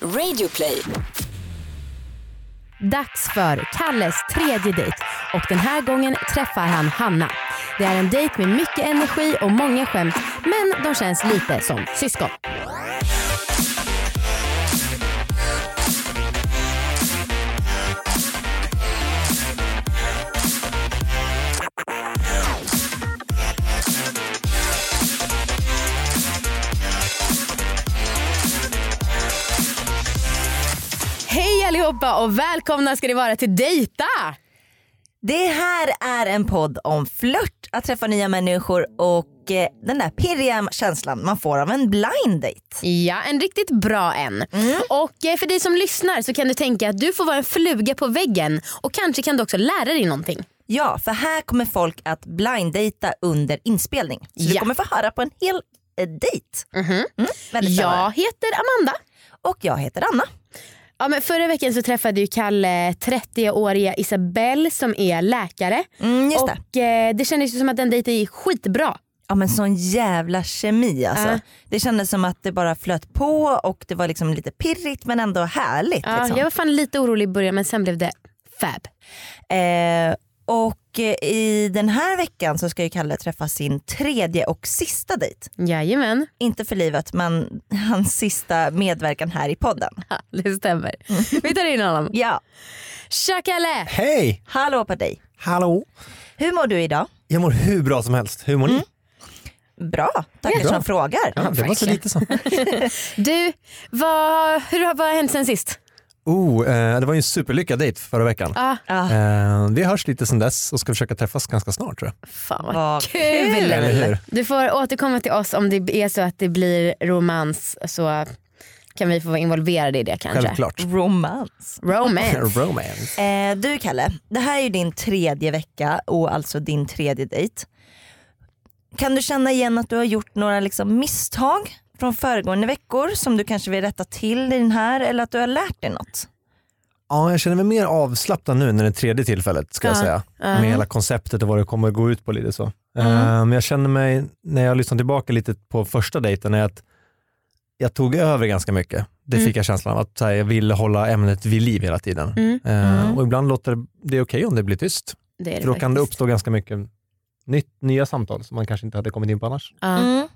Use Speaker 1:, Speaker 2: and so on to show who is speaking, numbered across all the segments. Speaker 1: Radioplay.
Speaker 2: Dags för Kalles tredje dejt och den här gången träffar han Hanna. Det är en dejt med mycket energi och många skämt men de känns lite som syskon. Hej allihopa och välkomna ska ni vara till Dejta!
Speaker 3: Det här är en podd om flört, att träffa nya människor och eh, den där pirriga känslan man får av en blind date.
Speaker 2: Ja, en riktigt bra en. Och eh, för dig som lyssnar så kan du tänka att du får vara en fluga på väggen och kanske kan du också lära dig någonting.
Speaker 3: Ja, för här kommer folk att blinddejta under inspelning. Så du
Speaker 2: Ja. Mhm.
Speaker 3: kommer få höra på en hel eh, dejt. Mm, väldigt
Speaker 2: Jag
Speaker 3: spännande.
Speaker 2: heter Amanda.
Speaker 3: Och jag heter Anna.
Speaker 2: Ja, men förra veckan så träffade ju Kalle 30-åriga Isabelle som är läkare.
Speaker 3: Mm, just det.
Speaker 2: och eh, det kändes ju som att den dejten gick skitbra.
Speaker 3: Ja men sån jävla kemi alltså.
Speaker 2: Ja.
Speaker 3: Det kändes som att det bara flöt på och det var liksom lite pirrigt men ändå härligt.
Speaker 2: Ja,
Speaker 3: liksom.
Speaker 2: Jag var fan lite orolig i början men sen blev det fab.
Speaker 3: Eh, och eh, i den här veckan så ska ju Kalle träffa sin tredje och sista dejt.
Speaker 2: Jajamän,
Speaker 3: Inte för livet men hans sista medverkan här i podden.
Speaker 2: ja, det stämmer.
Speaker 3: Mm.
Speaker 2: Vi tar in honom.
Speaker 3: Ja,
Speaker 2: Tja Kalle!
Speaker 4: Hej!
Speaker 3: hallå på dig.
Speaker 4: Hallå!
Speaker 3: Hur mår du idag?
Speaker 4: Jag mår hur bra som helst. Hur mår ni?
Speaker 3: Bra, tackar
Speaker 4: Bra.
Speaker 3: som frågar.
Speaker 4: Ja, det var så lite så.
Speaker 2: Du, vad, hur, har- vad har hänt sen sist?
Speaker 4: Oh, eh, det var ju en superlyckad dejt förra veckan.
Speaker 2: Ja,
Speaker 3: Ja,
Speaker 4: Eh, vi hörs lite sen dess och ska försöka träffas ganska snart tror jag.
Speaker 2: fan vad,
Speaker 3: Vad
Speaker 2: kul!
Speaker 3: kul.
Speaker 4: Eller hur?
Speaker 2: Du får återkomma till oss om det är så att det blir romans så kan vi få vara involverade i det kanske.
Speaker 4: Självklart.
Speaker 3: romans.
Speaker 2: Romance.
Speaker 4: Romance.
Speaker 3: Eh, du Kalle, det här är ju din tredje vecka och alltså din tredje dejt. Kan du känna igen att du har gjort några liksom misstag från föregående veckor som du kanske vill rätta till i den här eller att du har lärt dig något?
Speaker 4: Ja, jag känner mig mer avslappnad nu när det är tredje tillfället ska jag
Speaker 2: Ja.
Speaker 4: säga. Med hela konceptet och vad det kommer gå ut på lite så. Eh, Men jag känner mig, när jag lyssnar tillbaka lite på första dejten, är att jag tog över ganska mycket. Det fick jag känslan av, att så här, jag ville hålla ämnet vid liv hela tiden.
Speaker 2: Mm.
Speaker 4: Eh, Och ibland låter det, det är okej om det blir tyst.
Speaker 2: Det är
Speaker 4: För då kan det
Speaker 2: faktiskt.
Speaker 4: uppstå ganska mycket nytt, nya samtal som man kanske inte hade kommit in på annars.
Speaker 2: Ja.
Speaker 3: Mm.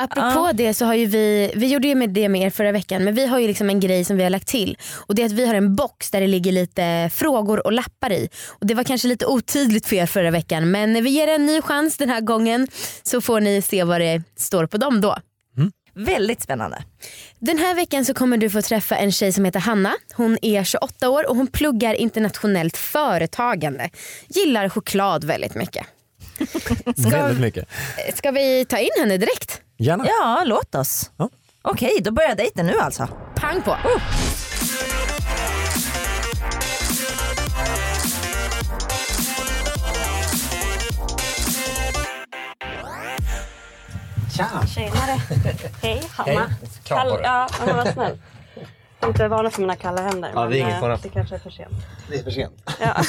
Speaker 2: Apropå det så har ju vi, vi gjorde ju med det med er förra veckan men vi har ju liksom en grej som vi har lagt till och det är att vi har en box där det ligger lite frågor och lappar i. Och Det var kanske lite otydligt för er förra veckan men vi ger er en ny chans den här gången så får ni se vad det står på dem då.
Speaker 3: Väldigt spännande.
Speaker 2: Den här veckan så kommer du få träffa en tjej som heter Hanna. Hon är 28 år och hon pluggar internationellt företagande. Gillar choklad väldigt mycket.
Speaker 4: Väldigt mycket.
Speaker 2: Ska vi ta in henne direkt?
Speaker 4: Gärna.
Speaker 3: Ja, låt oss.
Speaker 4: Ja.
Speaker 3: Okej, då börjar dejten nu alltså.
Speaker 2: Pang på!
Speaker 4: Tja!
Speaker 5: Tjenare. Hej, Hanna.
Speaker 4: Hej. Kram på dig.
Speaker 5: ja, men vad snäll. Jag är inte van för mina kalla händer.
Speaker 4: Ja, det är
Speaker 5: men,
Speaker 4: ingen
Speaker 5: eh,
Speaker 4: fara.
Speaker 5: Det kanske är för sent.
Speaker 4: Det är för sent.
Speaker 5: Ja.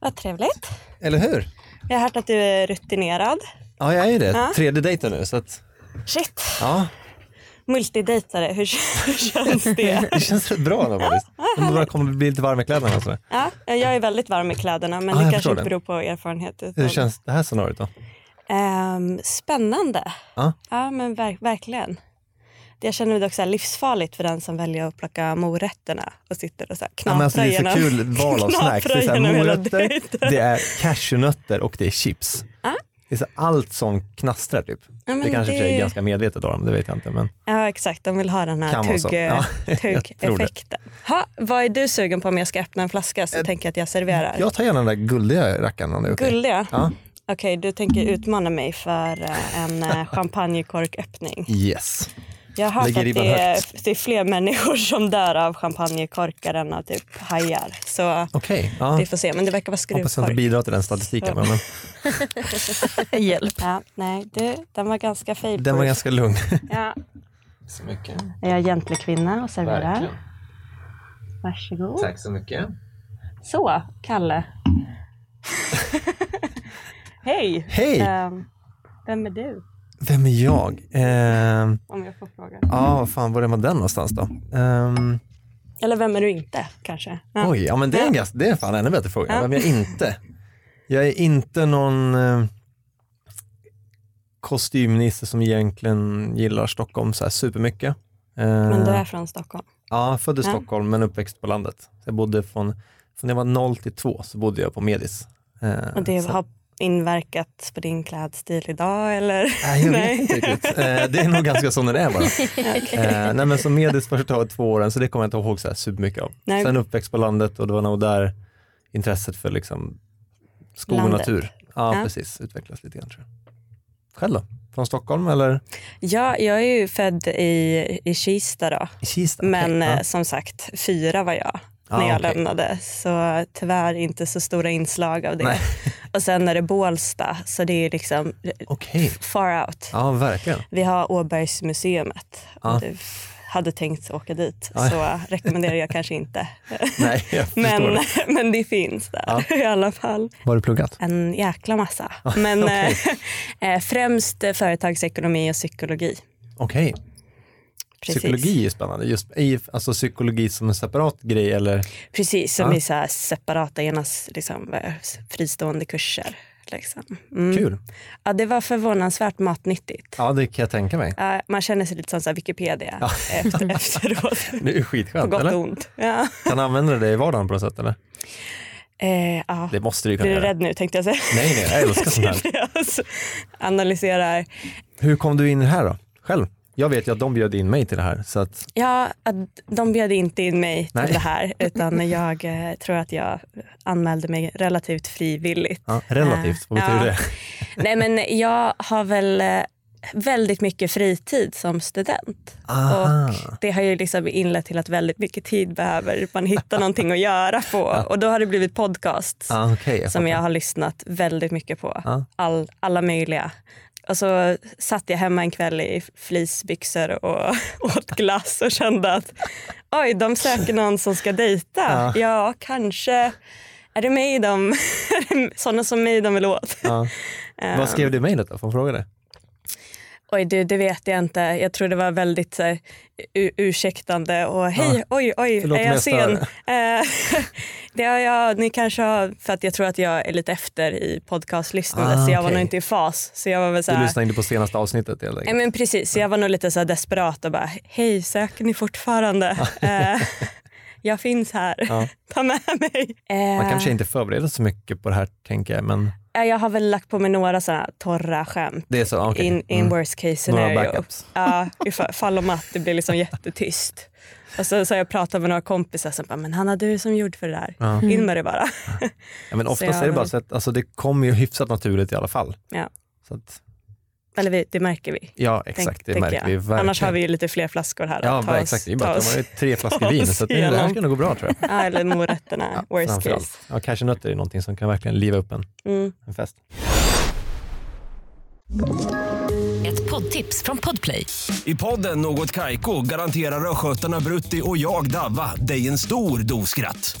Speaker 5: vad trevligt.
Speaker 4: Eller hur?
Speaker 5: Jag har hört att du är rutinerad.
Speaker 4: Ja, jag är ju det.
Speaker 5: Ja.
Speaker 4: Tredje dejten nu. Så att,
Speaker 5: Shit,
Speaker 4: ja,
Speaker 5: multidejtare. Hur, hur känns det?
Speaker 4: det känns rätt bra då faktiskt. Man bara kommer bli lite varm i kläderna. alltså. och sådär.
Speaker 5: Ja, jag är väldigt varm i kläderna men
Speaker 4: Ja, jag
Speaker 5: det kanske
Speaker 4: förstår
Speaker 5: inte
Speaker 4: det.
Speaker 5: beror på erfarenhet.
Speaker 4: Hur
Speaker 5: Utan,
Speaker 4: känns det här scenariot då?
Speaker 5: Ehm, spännande.
Speaker 4: Ja.
Speaker 5: Ja men verk, verkligen. Det jag känner mig dock så här livsfarligt för den som väljer att plocka morötterna och sitter och så här knaprar
Speaker 4: Ja, men alltså, det är så kul
Speaker 5: genom,
Speaker 4: val av snacks. Det är så här
Speaker 5: knaprar genom hela
Speaker 4: morötter,
Speaker 5: dejten.
Speaker 4: det är cashewnötter och det är chips. Det är så här allt som knastrar typ.
Speaker 5: men
Speaker 4: det kanske i och för sig
Speaker 5: det-
Speaker 4: är ganska medvetet av dem, det vet jag inte. Men...
Speaker 5: Ja exakt, de vill ha den här
Speaker 4: Kan vara så.
Speaker 5: tugg,
Speaker 4: Ja, jag tror det.
Speaker 5: tuggeffekten. Ha, vad är du sugen på om jag ska öppna en flaska så tänker jag att jag serverar?
Speaker 4: Eh, Jag tar gärna den där guldiga rackaren om det är okej.
Speaker 5: Gulliga?
Speaker 4: Ja.
Speaker 5: Okej, du tänker utmana mig för eh, en eh, champagnekorköppning.
Speaker 4: Yes.
Speaker 5: Jag har hört
Speaker 4: Lägger
Speaker 5: att
Speaker 4: ribban
Speaker 5: det är, det är fler människor som dör av champagnekorkar än av typ hajar. Så
Speaker 4: Okej. Ja.
Speaker 5: vi får se, men det verkar vara
Speaker 4: Hoppas jag inte
Speaker 5: skruvkork.
Speaker 4: bidrar till den statistiken. Men, men
Speaker 3: Hjälp.
Speaker 5: Ja, nej, du, den var ganska fej.
Speaker 4: den var ganska lugn.
Speaker 5: Ja.
Speaker 4: Så mycket.
Speaker 5: Är jag egentlig kvinna och serverar? Varsågod.
Speaker 4: Tack så mycket.
Speaker 5: Så, Kalle. Hej!
Speaker 4: Hej!
Speaker 5: Ehm, vem är du?
Speaker 4: Vem är jag? Eh,
Speaker 5: Om jag får fråga.
Speaker 4: ja, vad fan, var är man den någonstans då? Ehm,
Speaker 5: Eller vem är du inte kanske? Ja.
Speaker 4: Oj, ja men det är, en ganska, det är fan en ännu bättre fråga. Vem är jag inte? Jag är inte någon eh, kostymminister som egentligen gillar Stockholm så här supermycket. Eh,
Speaker 5: Men du är från Stockholm.
Speaker 4: Ja, född i
Speaker 5: Ja.
Speaker 4: Stockholm men uppväxt på landet. Jag bodde från, från jag var 0 till 2 så bodde jag på Medis. Eh,
Speaker 5: Och det
Speaker 4: så-
Speaker 5: har inverkat på din klädstil idag eller?
Speaker 4: Nej, jag
Speaker 5: Nej.
Speaker 4: vet inte riktigt. Eh, det är nog ganska som det är bara. Eh, nej, men som medis första två åren, så det kommer jag inte ihåg så här supermycket av.
Speaker 5: Nej.
Speaker 4: Sen uppväxt på landet och det var nog där intresset för liksom skog och
Speaker 5: Landet.
Speaker 4: natur ja,
Speaker 5: Ja.
Speaker 4: Precis, utvecklas lite grann. Tror jag. Själv då? Från Stockholm eller?
Speaker 5: Ja, jag är ju född i, i Kista då.
Speaker 4: I Kista?
Speaker 5: Men
Speaker 4: Okej,
Speaker 5: eh, som sagt, fyra var jag
Speaker 4: Ja,
Speaker 5: när jag
Speaker 4: okej.
Speaker 5: lämnade. Så tyvärr inte så stora inslag av det.
Speaker 4: Nej.
Speaker 5: Och sen är det Bålsta, så det är liksom
Speaker 4: Okej,
Speaker 5: far out.
Speaker 4: ja verkligen.
Speaker 5: Vi har Åbergsmuseet.
Speaker 4: Ja.
Speaker 5: Om Du f- hade tänkt åka dit
Speaker 4: Ja.
Speaker 5: så rekommenderar jag kanske inte.
Speaker 4: Nej, jag förstår.
Speaker 5: Men,
Speaker 4: det.
Speaker 5: men det finns där i alla fall.
Speaker 4: Vad har du pluggat?
Speaker 5: En jäkla massa. Men
Speaker 4: okej.
Speaker 5: eh, eh, främst eh, företagsekonomi och psykologi.
Speaker 4: Okej,
Speaker 5: Precis.
Speaker 4: psykologi är spännande. Just, i- alltså psykologi som en separat grej eller?
Speaker 5: Precis, som
Speaker 4: Ja.
Speaker 5: i så här separata, ena s- liksom, eh, s- fristående kurser. Liksom. Mm.
Speaker 4: Kul.
Speaker 5: Ja, det var förvånansvärt matnyttigt.
Speaker 4: Ja, det kan jag tänka mig.
Speaker 5: Ja, man känner sig lite som så här Wikipedia efter, efteråt,
Speaker 4: Det är
Speaker 5: på
Speaker 4: skitskönt,
Speaker 5: gott
Speaker 4: eller?
Speaker 5: och ont. Ja.
Speaker 4: Kan använda det i vardagen på något sätt eller?
Speaker 5: Eh, ja.
Speaker 4: Det måste du ju kunna
Speaker 5: Blir du
Speaker 4: göra.
Speaker 5: rädd nu tänkte jag säga.
Speaker 4: Nej, nej, jag älskar sånt här.
Speaker 5: Alltså, Analyserar.
Speaker 4: Hur kom du in i det här då? Själv? Jag vet ju att de bjöd in mig till det här. Så att,
Speaker 5: Ja, att de bjöd inte in mig till
Speaker 4: Nej.
Speaker 5: det här utan jag eh, tror att jag anmälde mig relativt frivilligt.
Speaker 4: ja, relativt, vad
Speaker 5: Ja.
Speaker 4: betyder det?
Speaker 5: Nej, men jag har väl eh, väldigt mycket fritid som student.
Speaker 4: Aha.
Speaker 5: Och det har ju liksom inlett till att väldigt mycket tid behöver man hitta någonting att göra på. Och då har det blivit podcast
Speaker 4: Ah, okej, jag
Speaker 5: som
Speaker 4: fattar.
Speaker 5: jag har lyssnat väldigt mycket på.
Speaker 4: Ja.
Speaker 5: All, alla möjliga. Och så satt jag hemma en kväll i fleecebyxor och åt glass och kände att oj, de söker någon som ska dejta. Ja, kanske. Är det mig de, sådana som mig de vill åt?
Speaker 4: Ja.
Speaker 5: Eh.
Speaker 4: Vad skrev du i mejlet då? Får jag fråga det?
Speaker 5: Oj, du, det vet jag inte. Jag tror det var väldigt så här, u- ursäktande och hej, oj, oj,
Speaker 4: Förlåt
Speaker 5: är
Speaker 4: om
Speaker 5: jag
Speaker 4: jag stör.
Speaker 5: sen? Eh, det har jag, ni kanske har, för att jag tror att jag är lite efter i podcastlyssnande
Speaker 4: Ah,
Speaker 5: så jag var
Speaker 4: okej.
Speaker 5: nog inte i fas. Så jag var väl så
Speaker 4: Du
Speaker 5: här,
Speaker 4: lyssnade inte på senaste avsnittet helt
Speaker 5: Nej,
Speaker 4: enkelt?
Speaker 5: men precis, så jag var nog lite så här desperat och bara hej, söker ni fortfarande? Eh, jag finns här,
Speaker 4: Ja.
Speaker 5: ta med mig. Eh,
Speaker 4: Man kanske inte förbereder så mycket på det här tänker jag, men
Speaker 5: eh, Jag har väl lagt på mig några sådana torra skämt
Speaker 4: det är så. ah, okej.
Speaker 5: in, in
Speaker 4: Mm.
Speaker 5: worst case
Speaker 4: Några
Speaker 5: scenario.
Speaker 4: backups.
Speaker 5: Ja, ifall fall om att det blir liksom jättetyst. Och så, så har jag pratat med några kompisar som bara, men Hanna du är som gjord för det där.
Speaker 4: Ja.
Speaker 5: In med det bara.
Speaker 4: Ja, men
Speaker 5: Så
Speaker 4: oftast
Speaker 5: jag
Speaker 4: är det
Speaker 5: har
Speaker 4: bara
Speaker 5: väl-
Speaker 4: så att alltså, det kommer ju hyfsat naturligt i alla fall.
Speaker 5: Ja.
Speaker 4: Så att,
Speaker 5: Eller vi, det märker vi.
Speaker 4: ja
Speaker 5: tänk-
Speaker 4: exakt, det
Speaker 5: tänker
Speaker 4: märker
Speaker 5: jag.
Speaker 4: vi verkligen.
Speaker 5: Annars har vi ju lite fler flaskor här. att
Speaker 4: Ja,
Speaker 5: ta oss-
Speaker 4: exakt. Det är
Speaker 5: ta
Speaker 4: bara att de
Speaker 5: oss-
Speaker 4: har ju tre flaskor
Speaker 5: ta
Speaker 4: vin,
Speaker 5: oss
Speaker 4: så att det det här
Speaker 5: igenom.
Speaker 4: ska nog gå bra tror jag.
Speaker 5: ja, eller morötterna, worst case.
Speaker 4: Framförallt. Ja, cashewnötter är någonting som kan verkligen liva upp en,
Speaker 5: Mm.
Speaker 4: en fest.
Speaker 6: Ett poddtips från Podplay.
Speaker 7: I podden Något Kaiko garanterar östgötarna Brutti och jag, Davva, dig en stor dos skratt.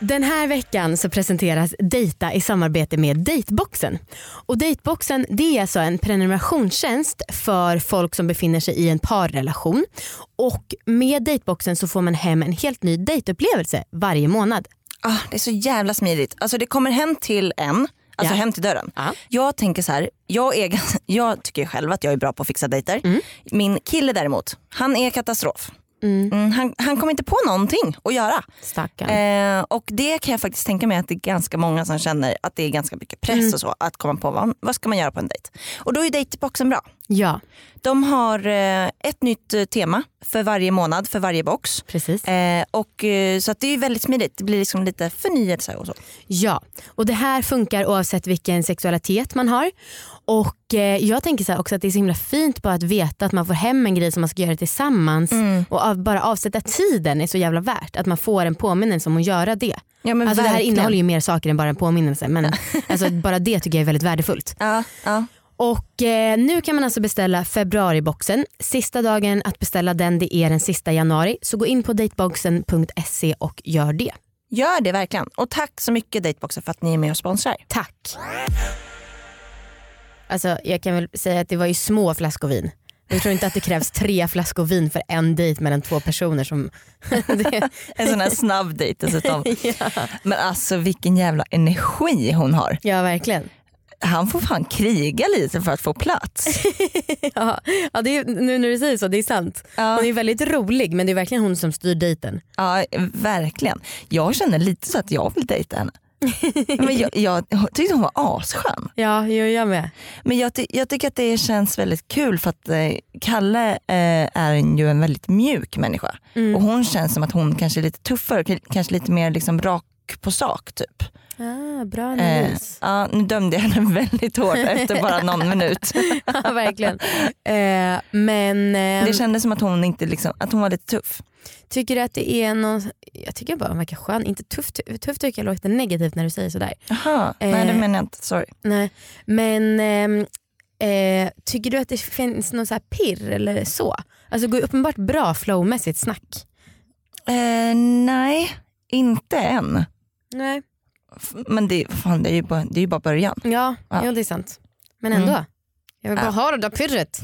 Speaker 2: Den här veckan så presenteras Dejta i samarbete med Dateboxen. Och Dateboxen det är alltså en prenumerationstjänst för folk som befinner sig i en parrelation. Och med Dateboxen så får man hem en helt ny dejtupplevelse varje månad.
Speaker 3: Ah, det är så jävla smidigt. Alltså det kommer hem till en, alltså
Speaker 2: Ja.
Speaker 3: hem till dörren.
Speaker 2: Ja.
Speaker 3: Jag tänker så här, jag, är, gans- jag tycker själv att jag är bra på att fixa dejter. Min kille däremot, han är katastrof. Mm, han, han kommer inte på någonting att göra.
Speaker 2: Stackarn.
Speaker 3: Eh, och det kan jag faktiskt tänka mig att det är ganska många Mm. som känner att det är ganska mycket press och så att komma på vad, vad ska man göra på en dejt. Och då är ju dejtboxen bra.
Speaker 2: Ja,
Speaker 3: De har eh, ett nytt eh, tema för varje månad, för varje box.
Speaker 2: precis.
Speaker 3: Eh, och, eh, så att det är väldigt smidigt. Det blir liksom lite förnyelse och så.
Speaker 2: Ja, och det här funkar oavsett vilken sexualitet man har. Och eh, jag tänker så här också att det är så himla fint bara att veta att man får hem en grej som man ska göra tillsammans
Speaker 3: Mm.
Speaker 2: och av, bara avsätta tiden är så jävla värt. Att man får en påminnelse om att göra det.
Speaker 3: Ja, men
Speaker 2: alltså det här
Speaker 3: verkligen.
Speaker 2: innehåller ju mer saker än bara en påminnelse men alltså, bara det tycker jag är väldigt värdefullt.
Speaker 3: Ja, ja.
Speaker 2: Och eh, nu kan man alltså beställa februariboxen. Sista dagen att beställa den det är den sista januari så gå in på dateboxen.se och gör det.
Speaker 3: Gör det verkligen. Och tack så mycket Dateboxer för att ni är med och sponsrar.
Speaker 2: Tack. Alltså jag kan väl säga att det var ju små flaskor vin. Jag tror inte att det krävs tre flaskor vin för en dejt mellan två personer som... det,
Speaker 3: En sån här snabb dejt dessutom. Men alltså vilken jävla energi hon har.
Speaker 2: ja verkligen.
Speaker 3: Han får fan kriga lite för att få plats.
Speaker 2: Ja, ja, det är, nu när du säger så, det är sant. Hon är väldigt rolig men det är verkligen hon som styr dejten.
Speaker 3: Ja, verkligen. Jag känner lite så att jag vill dejta henne. Men jag, jag tyckte hon var asskön.
Speaker 2: Ja, jag, jag med.
Speaker 3: Men jag, ty- jag tycker att det känns väldigt kul för att eh, Kalle eh, är en- ju en väldigt mjuk människa. Och hon känns som att hon kanske är lite tuffare, k- kanske lite mer liksom rak på sak typ.
Speaker 2: Ah, bra
Speaker 3: Eh,
Speaker 2: analys.
Speaker 3: ja, nu dömde jag henne väldigt hårt efter bara någon minut.
Speaker 2: ja, verkligen. Eh, men eh,
Speaker 3: Det kändes som att hon, inte liksom, att hon var lite tuff.
Speaker 2: tycker du att det är någon... Jag tycker bara hon verkar skön. Inte tuff, tuff tycker jag låter negativt när du säger sådär.
Speaker 3: Jaha, nej det
Speaker 2: Eh.
Speaker 3: menar jag inte. Sorry.
Speaker 2: Nej, men ehm, eh, tycker du att det finns någon så här pirr eller så? Alltså det går ju uppenbart bra flowmässigt snack.
Speaker 3: Eh, nej, inte än.
Speaker 2: Nej.
Speaker 3: F- Men det, fan, det, är ju bara, det är ju bara början.
Speaker 2: Ja,
Speaker 3: Ja.
Speaker 2: Jo, det är sant. Men
Speaker 3: Mm.
Speaker 2: ändå. Jag vill bara ha det där pirret.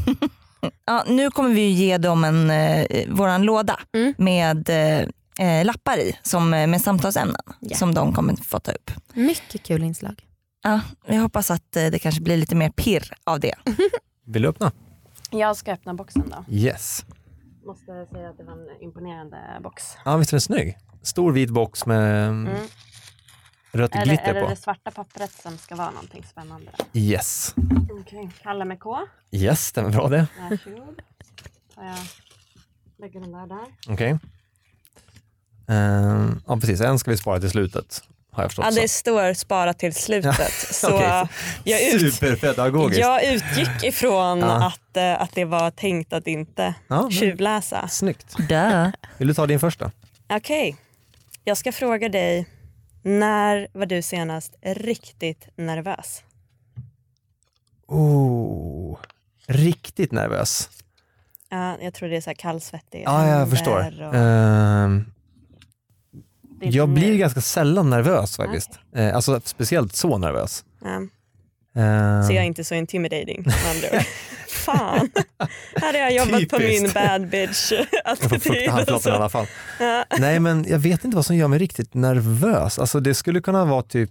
Speaker 3: Ja, nu kommer vi ju ge dem en, eh, våran låda
Speaker 2: Mm.
Speaker 3: med eh, eh, lappar i som, eh, med samtalsämnen
Speaker 2: Ja.
Speaker 3: som de kommer få ta upp.
Speaker 2: Mycket kul inslag.
Speaker 3: Ja, jag hoppas att eh, det kanske blir lite mer pirr av det.
Speaker 4: Vill du öppna?
Speaker 5: Jag ska öppna boxen då.
Speaker 4: Yes.
Speaker 5: Måste säga att det var en imponerande box.
Speaker 4: Ja, visst är den snygg? Stor vit box med mm. rött
Speaker 5: Är det, är
Speaker 4: glitter
Speaker 5: det
Speaker 4: på.
Speaker 5: det svarta pappret som ska vara någonting spännande?
Speaker 4: Yes.
Speaker 5: Okej, Kalle med K.
Speaker 4: Yes, den var bra det.
Speaker 5: Varsågod. Tar jag lägger den där där.
Speaker 4: Okej. Ehm, ja, precis. En ska vi spara till slutet, har jag förstått.
Speaker 5: Ja, det
Speaker 4: så.
Speaker 5: står spara till slutet. Så eh,
Speaker 4: Okej.
Speaker 5: jag, ut,
Speaker 4: Superpedagogiskt.
Speaker 5: jag utgick ifrån
Speaker 4: Ja.
Speaker 5: att, eh, att det var tänkt att inte
Speaker 4: Ja, men-
Speaker 5: tjuvläsa.
Speaker 4: Snyggt.
Speaker 3: Duh.
Speaker 4: Vill du ta din första?
Speaker 5: Okej, jag ska fråga dig. När var du senast riktigt nervös?
Speaker 4: Oh, riktigt nervös.
Speaker 5: Ja, jag tror det är så här kallsvettig.
Speaker 4: Ja, jag
Speaker 5: händer
Speaker 4: förstår.
Speaker 5: och-
Speaker 4: Ehm,
Speaker 5: det är
Speaker 4: jag
Speaker 5: lite
Speaker 4: blir
Speaker 5: mer-
Speaker 4: ganska sällan nervös faktiskt. Eh, alltså speciellt så nervös.
Speaker 5: Ja.
Speaker 4: Ehm,
Speaker 5: Så jag är inte så intimidating med andra ord. Fan, här har jag jobbat på
Speaker 4: Typiskt.
Speaker 5: min bad bitch
Speaker 4: Jag får fukta
Speaker 5: attityd. och
Speaker 4: handflatan i
Speaker 5: så.
Speaker 4: alla fall. Nej men jag vet inte vad som gör mig riktigt nervös. Alltså det skulle kunna vara typ,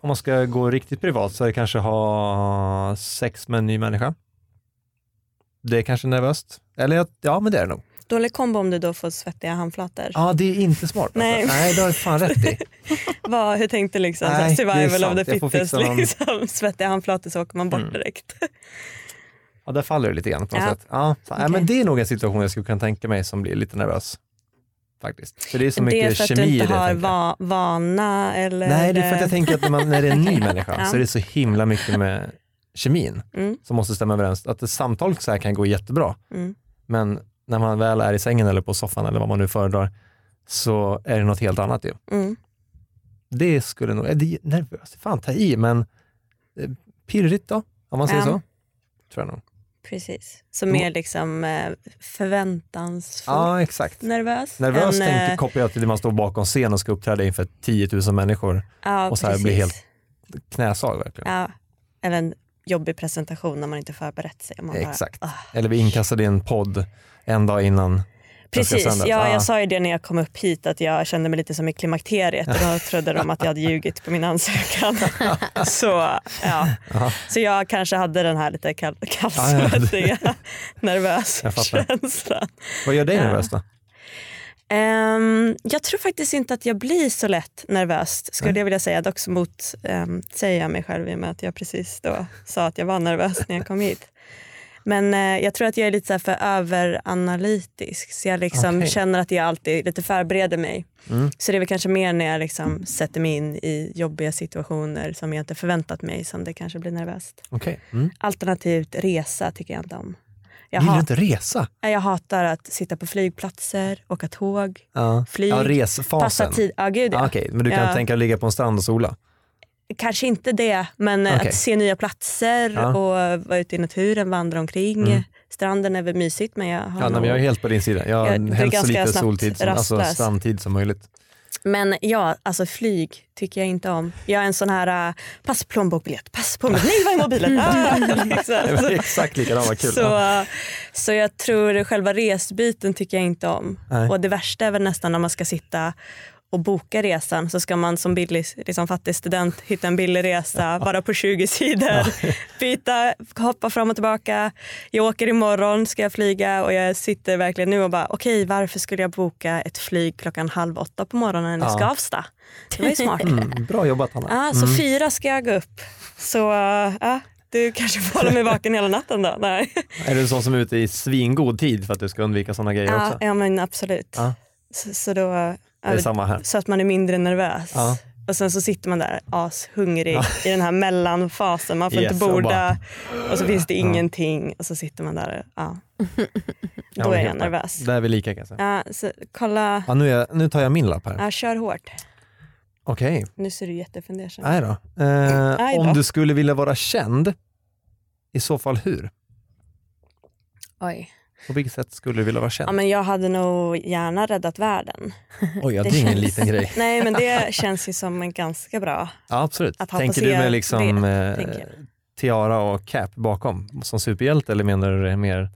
Speaker 4: om man ska gå riktigt privat så är det kanske ha sex med en ny människa. Det är kanske nervöst. Eller jag- ja men det är det nog.
Speaker 5: Dålig kombo om du då får svettiga handflator.
Speaker 4: Ja det är inte smart. alltså.
Speaker 5: Nej.
Speaker 4: Nej det har du fan rätt i.
Speaker 5: Vad, hur tänkte liksom,
Speaker 4: Nej,
Speaker 5: så
Speaker 4: det
Speaker 5: här,
Speaker 4: är
Speaker 5: survival of
Speaker 4: sant.
Speaker 5: the
Speaker 4: Jag får
Speaker 5: fittest,
Speaker 4: fixa någon- Mm.
Speaker 5: liksom, svettiga handflator så åker man bort direkt.
Speaker 4: Ja där faller det lite grann på något
Speaker 5: Ja.
Speaker 4: sätt. Ja, fan, nej,
Speaker 5: Okej.
Speaker 4: men det är nog en situation jag skulle kunna tänka mig som blir lite nervös. Faktiskt. För det är så
Speaker 5: det är
Speaker 4: mycket
Speaker 5: för att
Speaker 4: kemi
Speaker 5: du
Speaker 4: i det.
Speaker 5: inte har
Speaker 4: tänker jag.
Speaker 5: va- vana eller?
Speaker 4: Nej, det är för att jag tänker att när, man, när det är en ny människa
Speaker 5: Ja.
Speaker 4: så är det så himla mycket med kemin
Speaker 5: Mm.
Speaker 4: som måste stämma överens. Att ett samtal så här kan gå jättebra,
Speaker 5: Mm.
Speaker 4: men när man väl är i sängen eller på soffan eller vad man nu föredrar så är det något helt annat ju.
Speaker 5: Mm.
Speaker 4: Det skulle nog, är det är nervöst, fan ta i, men eh, pirrigt då, om man säger
Speaker 5: Ja.
Speaker 4: så. Tror jag nog.
Speaker 5: Precis, så mer liksom eh, förväntansfull.
Speaker 4: Ja, exakt.
Speaker 5: Nervös.
Speaker 4: Nervös
Speaker 5: än,
Speaker 4: tänker,
Speaker 5: eh,
Speaker 4: kopplar jag till när man står bakom scen och ska uppträda inför 10 000 människor.
Speaker 5: ja,
Speaker 4: och så här
Speaker 5: precis.
Speaker 4: blir helt- Knäsag verkligen.
Speaker 5: Ja. Eller en jobbig presentation när man inte förberett sig. Man bara,
Speaker 4: Exakt.
Speaker 5: "Ah."
Speaker 4: Eller vi inkastade i en podd en dag innan den ska
Speaker 5: Precis,
Speaker 4: sändas.
Speaker 5: ja,
Speaker 4: Ah.
Speaker 5: jag sa ju det när jag kom upp hit att jag kände mig lite som i klimakteriet och då trodde de att jag hade ljugit på min ansökan. så, ja. så jag kanske hade den här lite kall- kallsvettiga, nervösa
Speaker 4: Ah, Jag fattar.
Speaker 5: känslan.
Speaker 4: Vad gör dig nervös då?
Speaker 5: Ehm, jag tror faktiskt inte att jag blir så lätt nervös, skulle jag vilja säga. Dock så mot, ehm, um, säger jag mig själv i och med att jag precis då sa att jag var nervös när jag kom hit. Men eh, jag tror att jag är lite så här för överanalytisk så jag liksom
Speaker 4: Okej.
Speaker 5: känner att jag alltid lite förbereder mig.
Speaker 4: Mm.
Speaker 5: Så det är väl kanske mer när jag liksom sätter mig in i jobbiga situationer som jag inte förväntat mig som det kanske blir nervöst.
Speaker 4: Okej. Mm.
Speaker 5: Alternativt resa tycker jag inte om. Jag,
Speaker 4: Vill du
Speaker 5: hat-
Speaker 4: inte resa?
Speaker 5: Nej, jag hatar att sitta på flygplatser, åka tåg,
Speaker 4: Ja,
Speaker 5: Flyg,
Speaker 4: ja
Speaker 5: passa
Speaker 4: resfasen.
Speaker 5: tid. Ja, gud, ja.
Speaker 4: Ah, Okej, men du kan
Speaker 5: Ja.
Speaker 4: tänka dig att ligga på en strand och sola?
Speaker 5: Kanske inte det, men eh,
Speaker 4: Okej.
Speaker 5: att se nya platser
Speaker 4: Ja.
Speaker 5: och vara ute i naturen, vandra omkring.
Speaker 4: Mm.
Speaker 5: Stranden är väl mysigt men jag har
Speaker 4: Ja, nej,
Speaker 5: nog-
Speaker 4: men jag är helt på din sida. Jag,
Speaker 5: Jag
Speaker 4: jag
Speaker 5: blir
Speaker 4: helst så
Speaker 5: ganska
Speaker 4: lite
Speaker 5: snabbt
Speaker 4: soltid, som, alltså
Speaker 5: rastlös.
Speaker 4: strandtid som möjligt.
Speaker 5: Men ja, alltså flyg tycker jag inte om. Jag är en sån här, uh, pass plånbokbiljett, pass plånbokbiljett, nej var är mobilen? Ah,
Speaker 4: Jag
Speaker 5: liksom.
Speaker 4: var Exakt likadant, vad kul.
Speaker 5: så,
Speaker 4: Ja.
Speaker 5: eh, så jag tror själva resbiten tycker jag inte om.
Speaker 4: Nej.
Speaker 5: Och det värsta är väl nästan när man ska sitta och boka resan så ska man som billig, liksom fattig student hitta en billig resa bara på 20 sidor. Byta, hoppa fram och tillbaka. Jag åker imorgon, ska jag flyga och jag sitter verkligen nu och bara okej varför skulle jag boka ett flyg klockan halv åtta på morgonen i
Speaker 4: Ja.
Speaker 5: Skavsta? Det var ju smart.
Speaker 4: Mm, bra jobbat Hanna.
Speaker 5: Ah, så fyra ska jag gå upp. Så ah, du kanske får hålla mig vaken hela natten då? Nej.
Speaker 4: Är du en sån som är ute i svingod tid för att du ska undvika sådana grejer
Speaker 5: Ja,
Speaker 4: också?
Speaker 5: ja men absolut.
Speaker 4: Ja.
Speaker 5: Så, så då,
Speaker 4: Det är samma här.
Speaker 5: så att man är mindre nervös.
Speaker 4: Ja.
Speaker 5: Och sen så sitter man där ashungrig i den här mellanfasen. Man får
Speaker 4: Yes,
Speaker 5: inte
Speaker 4: och
Speaker 5: borda
Speaker 4: bara-
Speaker 5: och så finns det ingenting och så sitter man där. Ja.
Speaker 4: Ja,
Speaker 5: Då
Speaker 4: men
Speaker 5: är
Speaker 4: helt med.
Speaker 5: jag nervös.
Speaker 4: Där är vi lika kan jag säga.
Speaker 5: Ja, så kolla,
Speaker 4: Ja, nu, är jag, nu tar jag min lapp här.
Speaker 5: ja, kör hårt.
Speaker 4: Okej,
Speaker 5: Nu ser du jättefundersam ut.
Speaker 4: nej då. Eh,
Speaker 5: Aj då.
Speaker 4: Om du skulle vilja vara känd, i så fall hur?
Speaker 5: Oj.
Speaker 4: På vilket sätt skulle du vilja vara känd?
Speaker 5: Ja, men jag hade nog gärna räddat världen.
Speaker 4: Oj, ja, det
Speaker 5: det
Speaker 4: är ingen
Speaker 5: känns-
Speaker 4: liten grej.
Speaker 5: Nej men det känns ju som en ganska bra.
Speaker 4: Ja, absolut.
Speaker 5: Att ha
Speaker 4: Tänker du
Speaker 5: passerat
Speaker 4: med liksom
Speaker 5: det,
Speaker 4: eh,
Speaker 5: tänker jag.
Speaker 4: tiara och cap bakom som superhjälte eller menar du det mer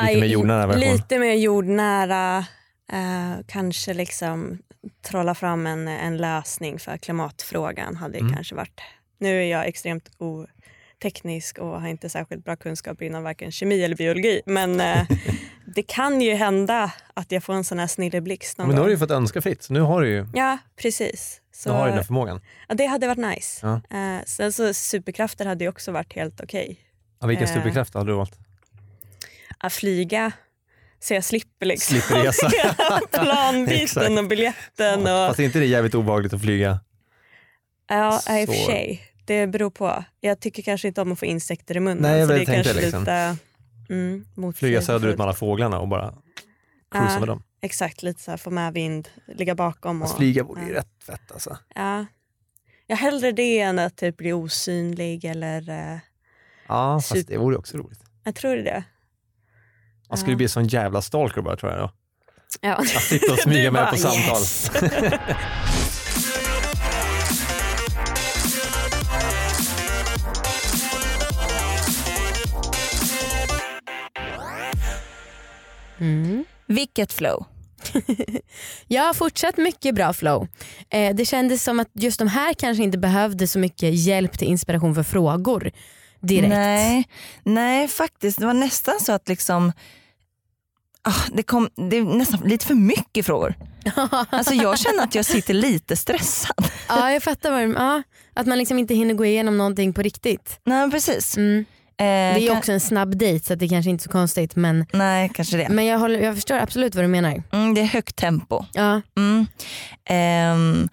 Speaker 4: lite mer
Speaker 5: Aj,
Speaker 4: jordnära version?
Speaker 5: Lite mer jordnära. eh, kanske liksom trolla fram en, en lösning för klimatfrågan hade
Speaker 4: Mm.
Speaker 5: kanske varit. Nu är jag extremt oteknisk och har inte särskilt bra kunskap inom varken kemi eller biologi. Men eh, det kan ju hända att jag får en sån här snilleblixt någon
Speaker 4: Men nu har
Speaker 5: gång.
Speaker 4: du ju fått önska fritt, så nu har du ju
Speaker 5: Ja, precis. Så,
Speaker 4: nu har du den förmågan.
Speaker 5: ja, det hade varit nice.
Speaker 4: Ja.
Speaker 5: Eh, sen så superkrafter hade ju också varit helt okej.
Speaker 4: Ja, vilka
Speaker 5: Eh.
Speaker 4: superkrafter hade du valt?
Speaker 5: att flyga så jag slipper liksom
Speaker 4: Slipper resa.
Speaker 5: hela
Speaker 4: Exakt.
Speaker 5: planbiten och biljetten. Och,
Speaker 4: Fast är inte det jävligt obehagligt att flyga?
Speaker 5: ja, i och för
Speaker 4: så-
Speaker 5: sig. Det beror på. Jag tycker kanske inte om att få insekter i munnen.
Speaker 4: Nej, jag
Speaker 5: så det
Speaker 4: väl
Speaker 5: är
Speaker 4: tänkte
Speaker 5: kanske
Speaker 4: liksom.
Speaker 5: lite mm,
Speaker 4: Flyga
Speaker 5: motsägelsefullt.
Speaker 4: söderut med alla fåglarna och bara cruisa
Speaker 5: Ja,
Speaker 4: med dem.
Speaker 5: Exakt, lite så här, få med vind, ligga bakom. Och,
Speaker 4: Fast flyga vore ju
Speaker 5: ja.
Speaker 4: rätt fett alltså.
Speaker 5: ja. Jag hellre det än att typ bli osynlig eller eh,
Speaker 4: Ja, fast
Speaker 5: Super-
Speaker 4: det vore också roligt.
Speaker 5: jag tror det. är det.
Speaker 4: Man skulle
Speaker 5: Ja.
Speaker 4: bli en sån jävla stalker bara tror jag. Då.
Speaker 5: Ja.
Speaker 4: Att sitta och smyga
Speaker 5: Du
Speaker 4: med
Speaker 5: bara,
Speaker 4: på samtal.
Speaker 5: "Yes."
Speaker 2: Mm.
Speaker 3: Vilket flow.
Speaker 2: Jag har fortsatt mycket bra flow. Eh, det kändes som att just de här kanske inte behövde så mycket hjälp till inspiration för frågor direkt.
Speaker 3: Nej, nej faktiskt. Det var nästan så att liksom ah, det, kom, det är nästan lite för mycket frågor. Alltså jag känner att jag sitter lite stressad.
Speaker 2: Ja, jag fattar vad du ja, Att man liksom inte hinner gå igenom någonting på riktigt.
Speaker 3: Nej men precis.
Speaker 2: Mm.
Speaker 3: Eh,
Speaker 2: Det är
Speaker 3: kan-
Speaker 2: ju också en snabb dejt så att det kanske inte är så konstigt men,
Speaker 3: Nej kanske det.
Speaker 2: men jag, håller, jag förstår absolut vad du menar.
Speaker 3: Mm, det är högt tempo.
Speaker 2: Ja,
Speaker 3: Mm. Ehm,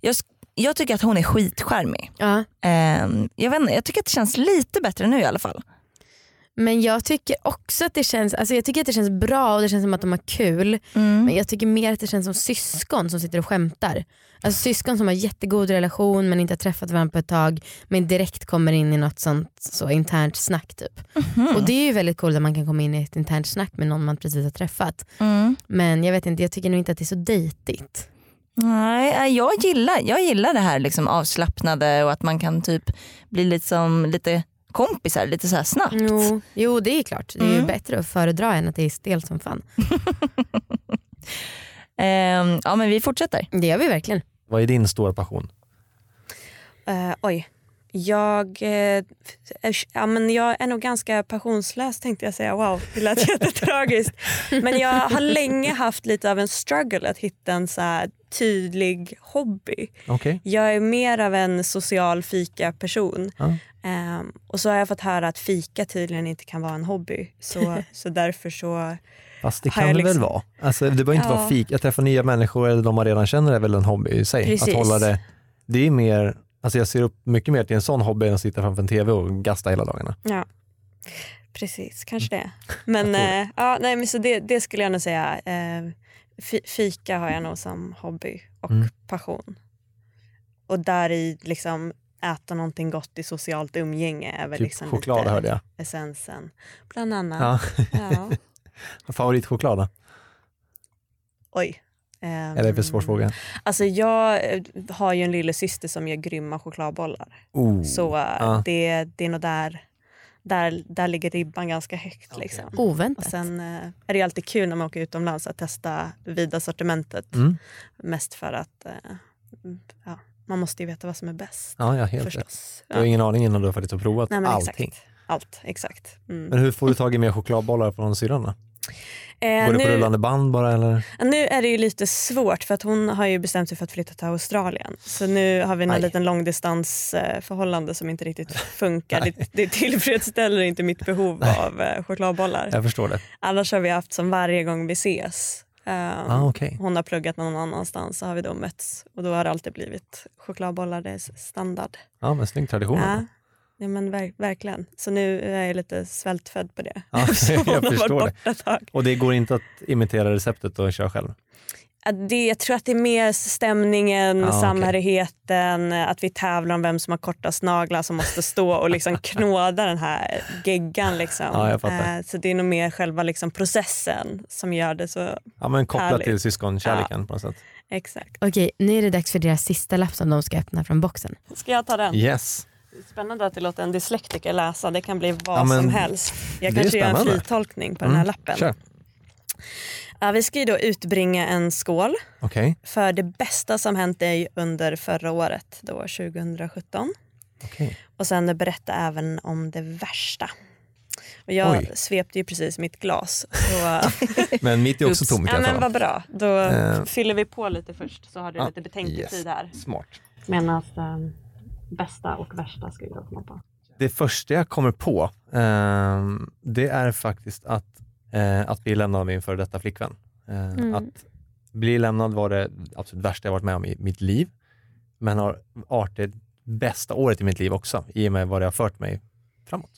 Speaker 3: jag, sk- jag tycker att hon är skitcharmig.
Speaker 2: ja.
Speaker 3: Ehm, jag, vet inte, jag tycker att det känns lite bättre nu i alla fall.
Speaker 2: Men jag tycker också att det känns alltså jag tycker att det känns bra och det känns som att de har kul.
Speaker 3: Mm.
Speaker 2: Men jag tycker mer att det känns som syskon som sitter och skämtar. Alltså syskon som har jättegod relation men inte har träffat varandra på ett tag men direkt kommer in i något sånt så internt snack typ. Och det är ju väldigt coolt att man kan komma in i ett internt snack med någon man precis har träffat.
Speaker 3: Mm.
Speaker 2: Men jag vet inte, jag tycker nog inte att det är så dejtigt.
Speaker 3: Nej, nej, jag gillar, jag gillar det här liksom avslappnade och att man kan typ bli liksom lite kompisar lite så här snabbt.
Speaker 2: Jo, jo det är klart. Det är ju
Speaker 3: Mm.
Speaker 2: bättre att föredra än att det är stelt som fan.
Speaker 3: Ehm, ja men vi fortsätter.
Speaker 2: Det gör vi verkligen.
Speaker 4: Vad är din stora passion?
Speaker 5: Eh, oj, Jag, eh, är- ja, men jag är nog ganska passionslös tänkte jag säga. Wow, det lät jättetragiskt. Men jag har länge haft lite av en struggle att hitta en så här tydlig hobby.
Speaker 4: Okej.
Speaker 5: Jag är mer av en social fika-person.
Speaker 4: Ja.
Speaker 5: Ehm, och så har jag fått höra att fika tydligen inte kan vara en hobby. Så, så därför så...
Speaker 4: Fast det
Speaker 5: Har
Speaker 4: kan
Speaker 5: jag
Speaker 4: det väl
Speaker 5: liksom-
Speaker 4: vara? Alltså, det behöver inte
Speaker 5: Ja.
Speaker 4: vara fik. Att träffa nya människor eller de man redan känner är väl en hobby i sig.
Speaker 5: Precis.
Speaker 4: Att hålla det, det är mer, alltså jag ser upp mycket mer till en sån hobby än att sitta framför en tv och gasta hela dagarna.
Speaker 5: Ja. Precis, kanske det. Men, eh, ja, nej, men så det, det skulle jag nog säga. Eh, fi- fika har jag nog som hobby och
Speaker 4: Mm.
Speaker 5: passion. Och där i liksom äta någonting gott i socialt umgänge är väl
Speaker 4: Typ
Speaker 5: liksom
Speaker 4: choklad
Speaker 5: lite
Speaker 4: hörde jag.
Speaker 5: essensen. Bland annat.
Speaker 4: Ja.
Speaker 5: Ja.
Speaker 4: Favoritchoklad då?
Speaker 5: Oj. Ehm,
Speaker 4: Eller är det för svår fråga?
Speaker 5: Alltså jag eh, har ju en lillasyster som gör grymma chokladbollar.
Speaker 4: Oh.
Speaker 5: Så eh,
Speaker 4: Ja.
Speaker 5: det, det är nog där, där, där ligger ribban ganska högt. Liksom. Och
Speaker 2: Oväntat.
Speaker 5: sen eh, är det ju alltid kul när man åker utomlands att testa vida sortimentet.
Speaker 4: Mm.
Speaker 5: Mest för att eh, mm, ja, man måste ju veta vad som är bäst
Speaker 4: Ja, ja, helt rätt.
Speaker 5: förstås.
Speaker 4: Du
Speaker 5: Ja.
Speaker 4: har ingen aning innan du har faktiskt provat
Speaker 5: Nej, men
Speaker 4: allting.
Speaker 5: Exakt. Allt, exakt. Mm.
Speaker 4: Men hur får du tag i mer chokladbollar från syrran då?
Speaker 5: Eh,
Speaker 4: Går det på
Speaker 5: nu,
Speaker 4: rullande band bara eller?
Speaker 5: nu är det ju lite svårt för att hon har ju bestämt sig för att flytta till Australien. Så nu har vi en
Speaker 4: Aj.
Speaker 5: liten långdistansförhållande som inte riktigt funkar. det, det tillfredsställer inte mitt behov av eh, chokladbollar.
Speaker 4: Jag förstår det.
Speaker 5: Annars har vi haft som varje gång vi ses. Um,
Speaker 4: Ah, okej.
Speaker 5: Hon har pluggat någon annanstans så har vi då mötts och då har det alltid blivit chokladbollar, det är s- standard.
Speaker 4: Ja, men snygg tradition.
Speaker 5: Ja, ja men ver- verkligen. Så nu är jag lite svältfödd på det.
Speaker 4: Ja,
Speaker 5: Eftersom hon
Speaker 4: jag
Speaker 5: har varit
Speaker 4: förstår det.
Speaker 5: borta ett tag.
Speaker 4: Och det går inte att imitera receptet och köra själv?
Speaker 5: Ja, det. Jag tror att det är mer stämningen,
Speaker 4: Ja, okej.
Speaker 5: samhörigheten, att vi tävlar om vem som har kortast naglar som måste stå och liksom knåda den här geggan. Liksom.
Speaker 4: Ja, jag fattar.
Speaker 5: Eh, Så det är nog mer själva liksom processen som gör det så
Speaker 4: Ja, men kopplat
Speaker 5: Härligt.
Speaker 4: till syskonkärleken på något sätt.
Speaker 5: exakt.
Speaker 2: Okej, nu är det dags för deras sista lapp som de ska öppna från boxen.
Speaker 5: Ska jag ta den?
Speaker 4: Yes.
Speaker 5: Spännande att du låter en dyslektiker läsa. Det kan bli vad
Speaker 4: Ja, men
Speaker 5: som helst. Jag
Speaker 4: det är
Speaker 5: kanske gör en
Speaker 4: spännande. Mm,
Speaker 5: fritolkning på den här lappen.
Speaker 4: Kör.
Speaker 5: Ja, vi ska ju då utbringa en skål
Speaker 4: Okej.
Speaker 5: för det bästa som hänt dig under förra året, då 2017.
Speaker 4: Okej.
Speaker 5: Och sen berätta även om det värsta. Och jag
Speaker 4: Oj.
Speaker 5: svepte ju precis mitt glas. Så,
Speaker 4: Men mitt är också
Speaker 5: Ups.
Speaker 4: tomt i
Speaker 5: ja,
Speaker 4: alla
Speaker 5: men
Speaker 4: fall.
Speaker 5: Vad bra, då
Speaker 4: Eh.
Speaker 5: fyller vi på lite först så har du
Speaker 4: Ja,
Speaker 5: lite betänketid
Speaker 4: yes.
Speaker 5: här.
Speaker 4: Smart.
Speaker 5: Medan bästa och värsta ska vi då komma på.
Speaker 4: Det första jag kommer på ehm, det är faktiskt att, eh, att bli lämnad av min före detta flickvän. Eh,
Speaker 5: Mm.
Speaker 4: Att bli lämnad var det absolut värsta jag varit med om i mitt liv. Men har varit det bästa året i mitt liv också i och med vad det har fört mig framåt.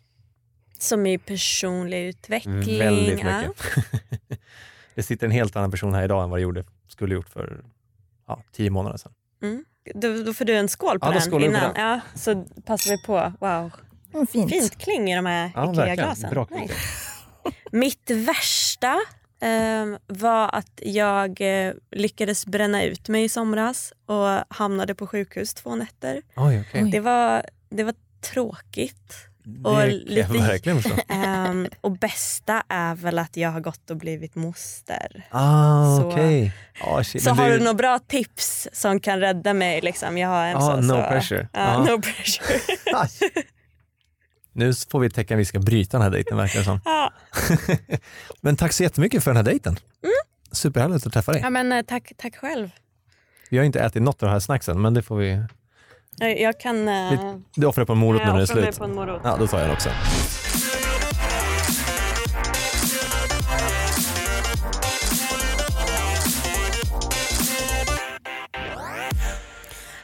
Speaker 5: Som i personlig utveckling.
Speaker 4: Mm, Väldigt
Speaker 5: ja.
Speaker 4: mycket. det sitter en helt annan person här idag än vad det gjorde, skulle gjort för ja, tio månader sedan.
Speaker 5: Då, då får du en skål på
Speaker 4: Ja, då
Speaker 5: den
Speaker 4: skålar vi på
Speaker 5: innan. Ja, så passar vi på. Wow.
Speaker 3: Mm, fint.
Speaker 5: Fint kling i de här
Speaker 4: Ja,
Speaker 5: äckliga
Speaker 4: verkligen.
Speaker 5: glasen.
Speaker 4: Bra
Speaker 5: Nej.
Speaker 4: kille.
Speaker 5: Mitt värsta ehm, var att jag eh, lyckades bränna ut mig i somras och hamnade på sjukhus två nätter.
Speaker 4: Oj, okej.
Speaker 2: Oj.
Speaker 5: Det var, det var tråkigt.
Speaker 4: Det
Speaker 5: Och
Speaker 4: kan
Speaker 5: lite-
Speaker 4: jag verkligen förstå.
Speaker 5: Ehm, och bästa är väl att jag har gått och blivit moster.
Speaker 4: Ah,
Speaker 5: Så-
Speaker 4: okej. Ah, shit.
Speaker 5: Så
Speaker 4: Men det
Speaker 5: har
Speaker 4: är ju-
Speaker 5: du några bra tips som kan rädda mig? Liksom. Jag har en
Speaker 4: Ah,
Speaker 5: så,
Speaker 4: no
Speaker 5: så,
Speaker 4: pressure.
Speaker 5: Ja,
Speaker 4: Ah.
Speaker 5: No pressure.
Speaker 4: Aj. Ah, Nu får vi ett tecken vi ska bryta den här dejten verkar det som.
Speaker 5: Ja.
Speaker 4: Men tack så jättemycket för den här dejten. Superhärligt att träffa dig.
Speaker 5: Mm. Ja, men, eh, tack, tack själv.
Speaker 4: Vi har inte ätit något av de här snacksen men det får vi...
Speaker 5: Jag, jag kan... eh,
Speaker 4: Du offrar på en morot nu när
Speaker 5: jag
Speaker 4: det är
Speaker 5: offrar mig
Speaker 4: slut.
Speaker 5: på en morot.
Speaker 4: Ja, då tar jag det också.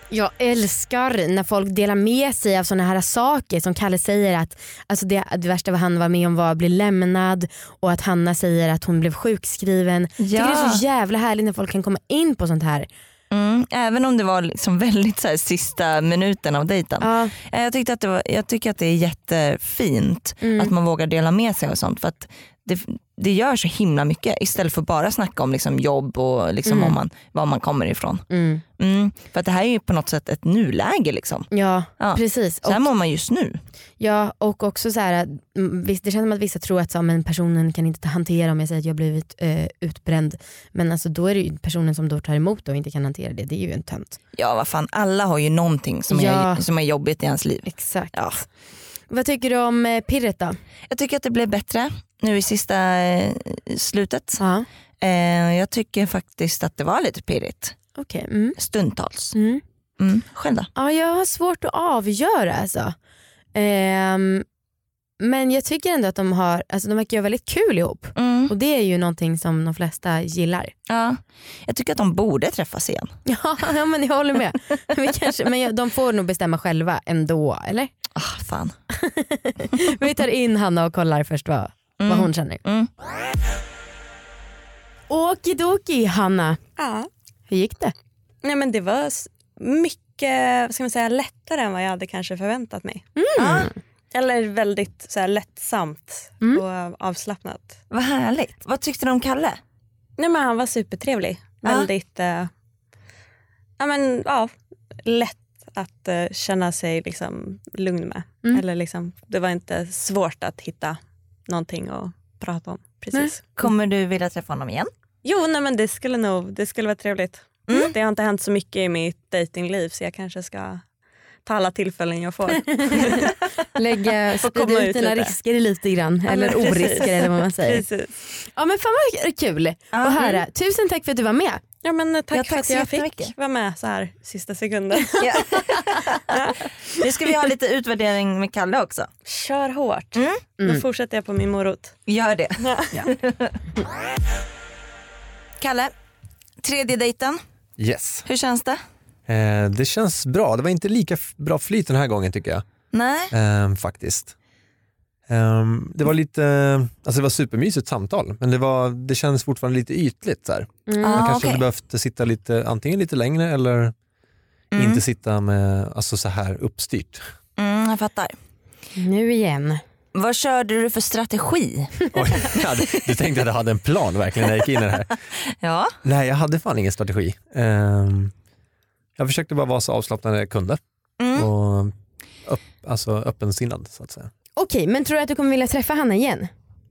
Speaker 2: Jag älskar när folk delar med sig av sådana här saker som Kalle säger att alltså det, det värsta vad han var med om var att bli lämnad och att Hanna säger att hon blev sjukskriven. Jag tycker det är så jävla härligt när folk kan komma in på sånt här.
Speaker 3: Mm, även om det var liksom väldigt så här, sista minuten av dejten.
Speaker 2: Ja,
Speaker 3: Eh, Jag, tyckte att det var, jag tycker att det är jättefint
Speaker 2: Mm.
Speaker 3: att man vågar dela med sig och sånt. För att det, det gör så himla mycket istället för bara snacka om liksom jobb och liksom om man, var man kommer ifrån.
Speaker 2: Mm.
Speaker 3: Mm, för att det här är ju på något sätt ett nuläge. Liksom.
Speaker 2: Ja,
Speaker 3: Ja.
Speaker 2: precis.
Speaker 3: Så här
Speaker 2: Och,
Speaker 3: mår man just nu.
Speaker 2: ja, och också så här, att, mm, visst, det känns som att vissa tror att så, men personen kan inte hantera om jag säger att jag blivit eh, utbränd. Men alltså, då är det ju personen som då tar emot det och inte kan hantera det. Det är ju en tönt.
Speaker 3: Ja vad fan, alla har ju någonting som, är,
Speaker 2: Ja.
Speaker 3: som är jobbigt i ens liv.
Speaker 2: Exakt.
Speaker 3: Ja.
Speaker 2: Vad tycker du om eh, pirret då?
Speaker 3: Jag tycker att det blev bättre nu i sista eh, slutet.
Speaker 2: Ja.
Speaker 3: Eh, jag tycker faktiskt att det var lite pirrigt.
Speaker 2: Okej. Mm.
Speaker 3: Stundtals.
Speaker 2: Mm.
Speaker 3: Mm. Själv då?
Speaker 2: Ja, jag har svårt att avgöra alltså. Ehm, men jag tycker ändå att de har, alltså de verkar göra väldigt kul ihop.
Speaker 3: Mm.
Speaker 2: Och det är ju någonting som de flesta gillar.
Speaker 3: Ja. Jag tycker att de borde träffas igen.
Speaker 2: Ja, ja men jag håller med. Men, kanske, men jag- de får nog bestämma själva ändå eller?
Speaker 3: Ah, fan.
Speaker 2: Men vi tar in Hanna och kollar först vad, vad hon känner.
Speaker 3: Mm.
Speaker 2: Okidoki Hanna,
Speaker 5: Ja.
Speaker 2: hur gick det?
Speaker 5: Nej, men det var s- mycket vad ska man säga, lättare än vad jag hade kanske förväntat mig. Mm. Ja. Mm. Eller väldigt så här, lättsamt och avslappnat.
Speaker 3: Vad härligt. Vad tyckte du om Kalle?
Speaker 5: Nej, men han var supertrevlig.
Speaker 3: Ja.
Speaker 5: Väldigt eh, ja, men, ja, lätt att eh, känna sig liksom, lugn med. Eller, liksom, det var inte svårt att hitta någonting att prata om. Precis.
Speaker 3: Kommer du vilja träffa honom igen?
Speaker 5: Jo, nej, men det skulle nog det skulle vara trevligt.
Speaker 3: Mm.
Speaker 5: Det har inte hänt så mycket i mitt datingliv så jag kanske ska ta alla tillfällen jag får.
Speaker 2: Lägga,
Speaker 5: Får komma
Speaker 2: sprida ut
Speaker 5: ut
Speaker 2: dina
Speaker 5: lite.
Speaker 2: risker lite grann, eller
Speaker 5: precis.
Speaker 2: orisker eller vad man säger. mm.
Speaker 5: Precis.
Speaker 2: Ja men fan vad kul att
Speaker 3: Mm.
Speaker 2: höra. Tusen tack för att du var med.
Speaker 5: Ja, men, eh, tack,
Speaker 3: Ja,
Speaker 5: för
Speaker 3: tack
Speaker 5: att
Speaker 3: så
Speaker 5: jag fick
Speaker 3: jättemycket.
Speaker 5: vara med så här sista sekunden.
Speaker 3: Nu ska vi ha lite utvärdering med Kalle också.
Speaker 5: Kör hårt. Då fortsätter jag på min morot.
Speaker 3: Gör det. Kalle, tredje dejten.
Speaker 4: Yes.
Speaker 3: Hur känns det?
Speaker 4: Eh, det känns bra. Det var inte lika f- bra flyt den här gången tycker jag.
Speaker 3: Nej.
Speaker 4: Ehm, faktiskt. Ehm, det var lite, eh, alltså det var supermysigt samtal men det, var, det känns fortfarande lite ytligt. Så här. Man
Speaker 3: Ah,
Speaker 4: kanske
Speaker 3: okej.
Speaker 4: hade behövt sitta lite, antingen lite längre eller
Speaker 3: Mm.
Speaker 4: inte sitta med, alltså så här uppstyrt.
Speaker 3: mm, jag fattar.
Speaker 2: Nu igen.
Speaker 3: Vad körde du för strategi?
Speaker 4: Oj, jag hade, du tänkte att jag hade en plan verkligen när jag gick in i det här.
Speaker 3: Ja.
Speaker 4: Nej jag hade fan ingen strategi. Ehm, jag försökte bara vara så avslappnad jag kunde
Speaker 3: Mm.
Speaker 4: och upp, alltså öppensinnad så att säga.
Speaker 2: Okej men tror du att du kommer vilja träffa Hanna igen?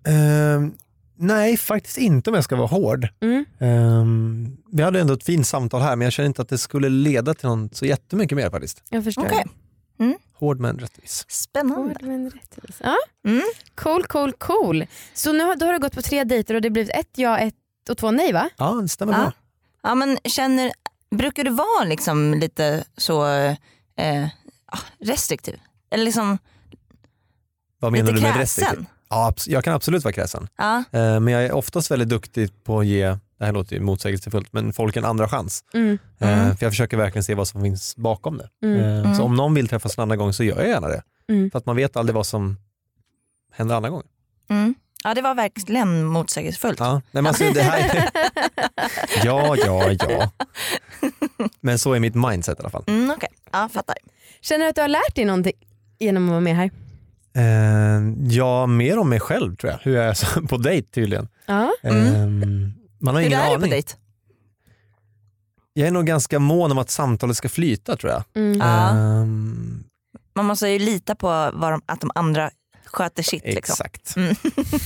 Speaker 4: Ehm, nej, faktiskt inte om jag ska vara hård.
Speaker 2: Mm.
Speaker 4: Ehm, vi hade ändå ett fint samtal här men jag känner inte att det skulle leda till någon så jättemycket mer faktiskt.
Speaker 2: Jag förstår.
Speaker 3: Okej.
Speaker 4: Hård men rättvis.
Speaker 3: Spännande.
Speaker 2: Ja.
Speaker 3: Mm.
Speaker 2: Cool cool cool. Så nu har, då har du gått på tre dejter och det blivit ett ja ett och två nej va?
Speaker 4: Ja, det stämmer
Speaker 3: Ja.
Speaker 4: bra.
Speaker 3: Ja, men känner, brukar du vara liksom lite så eh, ah, restriktiv? Eller liksom
Speaker 4: Vad menar
Speaker 3: lite
Speaker 4: du med
Speaker 3: kräsen?
Speaker 4: restriktiv? Ja, abs- jag kan absolut vara kräsen.
Speaker 3: Ja.
Speaker 4: Ehm, men jag är oftast väldigt duktig på att ge, det här låter ju motsägelsefullt, men folk en andra chans.
Speaker 2: Mm.
Speaker 4: Ehm,
Speaker 3: Mm.
Speaker 4: för jag försöker verkligen se vad som finns bakom det.
Speaker 2: Mm.
Speaker 4: Ehm,
Speaker 3: Mm.
Speaker 4: Så om någon vill träffas en andra gång så gör jag gärna det.
Speaker 2: Mm.
Speaker 4: För att man vet aldrig vad som händer andra gången.
Speaker 3: Mm. ja, det var verkligen motsägelsefullt.
Speaker 4: Ja, nej, men alltså, det här... ja, ja, ja. Men så är mitt mindset i alla fall.
Speaker 3: Mm, Okej, ja, fattar.
Speaker 2: Känner du att du har lärt dig någonting genom att vara med här?
Speaker 4: Eh, ja, mer om mig själv tror jag. Hur jag är så- på dejt tydligen.
Speaker 2: Ja.
Speaker 4: Eh, man har
Speaker 3: Mm. Hur
Speaker 4: ingen
Speaker 3: är det på
Speaker 4: aning.
Speaker 3: dejt?
Speaker 4: Jag är nog ganska mån om att samtalet ska flyta tror jag.
Speaker 2: Mm.
Speaker 3: Ja.
Speaker 4: Eh,
Speaker 3: Man måste ju lita på vad de, att de andra sköter sitt. Liksom.
Speaker 4: exakt.
Speaker 3: Mm.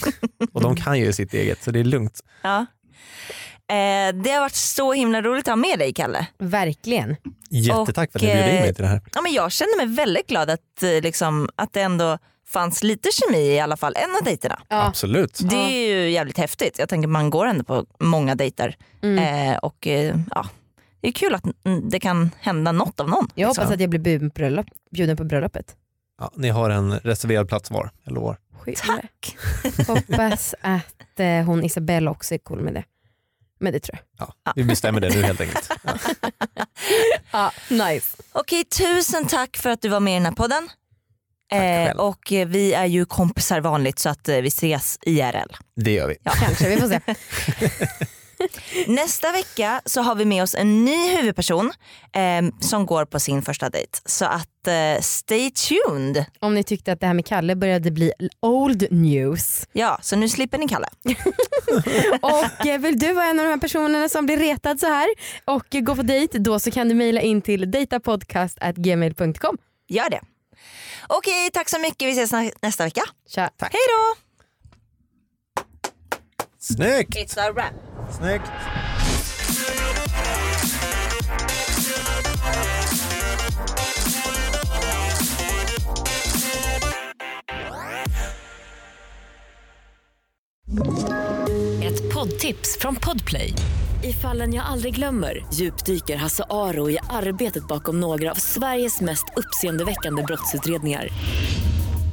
Speaker 4: Och de kan ju sitt eget så det är lugnt.
Speaker 3: Ja. Eh, det har varit så himla roligt att ha med dig Kalle.
Speaker 2: Verkligen.
Speaker 4: Jättetack för att ni bjöd
Speaker 3: eh,
Speaker 4: in mig till det här.
Speaker 3: Ja, men jag känner mig väldigt glad att, eh, liksom, att det ändå fanns lite kemi i alla fall, en av dejterna.
Speaker 2: Ja.
Speaker 4: Absolut.
Speaker 3: Det är ju jävligt häftigt. Jag tänker man går ändå på många dejter.
Speaker 2: Mm.
Speaker 3: Eh, och eh, ja, det är kul att mm, det kan hända något av någon.
Speaker 2: Jag
Speaker 3: liksom.
Speaker 2: hoppas att jag blir bjuden på, bröllop, bjuden på bröllopet.
Speaker 4: Ja, ni har en reserverad plats var, jag lovar.
Speaker 2: Tack. Hoppas att eh, hon Isabella också är cool med det. Men det tror jag.
Speaker 4: Ja, vi bestämmer det nu helt enkelt. Ja.
Speaker 2: Ja, nice.
Speaker 3: Okej, tusen tack för att du var med i den här podden. Eh,
Speaker 4: själv.
Speaker 3: och eh, vi är ju kompisar vanligt så att eh, vi ses IRL.
Speaker 4: Det gör vi.
Speaker 2: Kanske, vi får se.
Speaker 3: Nästa vecka så har vi med oss en ny huvudperson eh, som går på sin första dejt. Så att eh, stay tuned.
Speaker 2: Om ni tyckte att det här med Kalle började bli old news.
Speaker 3: Ja, så nu slipper ni Kalle.
Speaker 2: Och eh, vill du vara en av de här personerna som blir retad så här och eh, gå på dejt då så kan du mejla in till datapodcast@gmail.com.
Speaker 3: Gör det. Okej, tack så mycket. Vi ses nä- nästa vecka.
Speaker 2: Tja.
Speaker 3: Hej då!
Speaker 4: Snyggt!
Speaker 3: a wrap.
Speaker 4: Snyggt!
Speaker 6: Ett poddtips från Podplay. I fallen jag aldrig glömmer djupdyker Hasse Aro i arbetet bakom några av Sveriges mest uppseendeväckande brottsutredningar.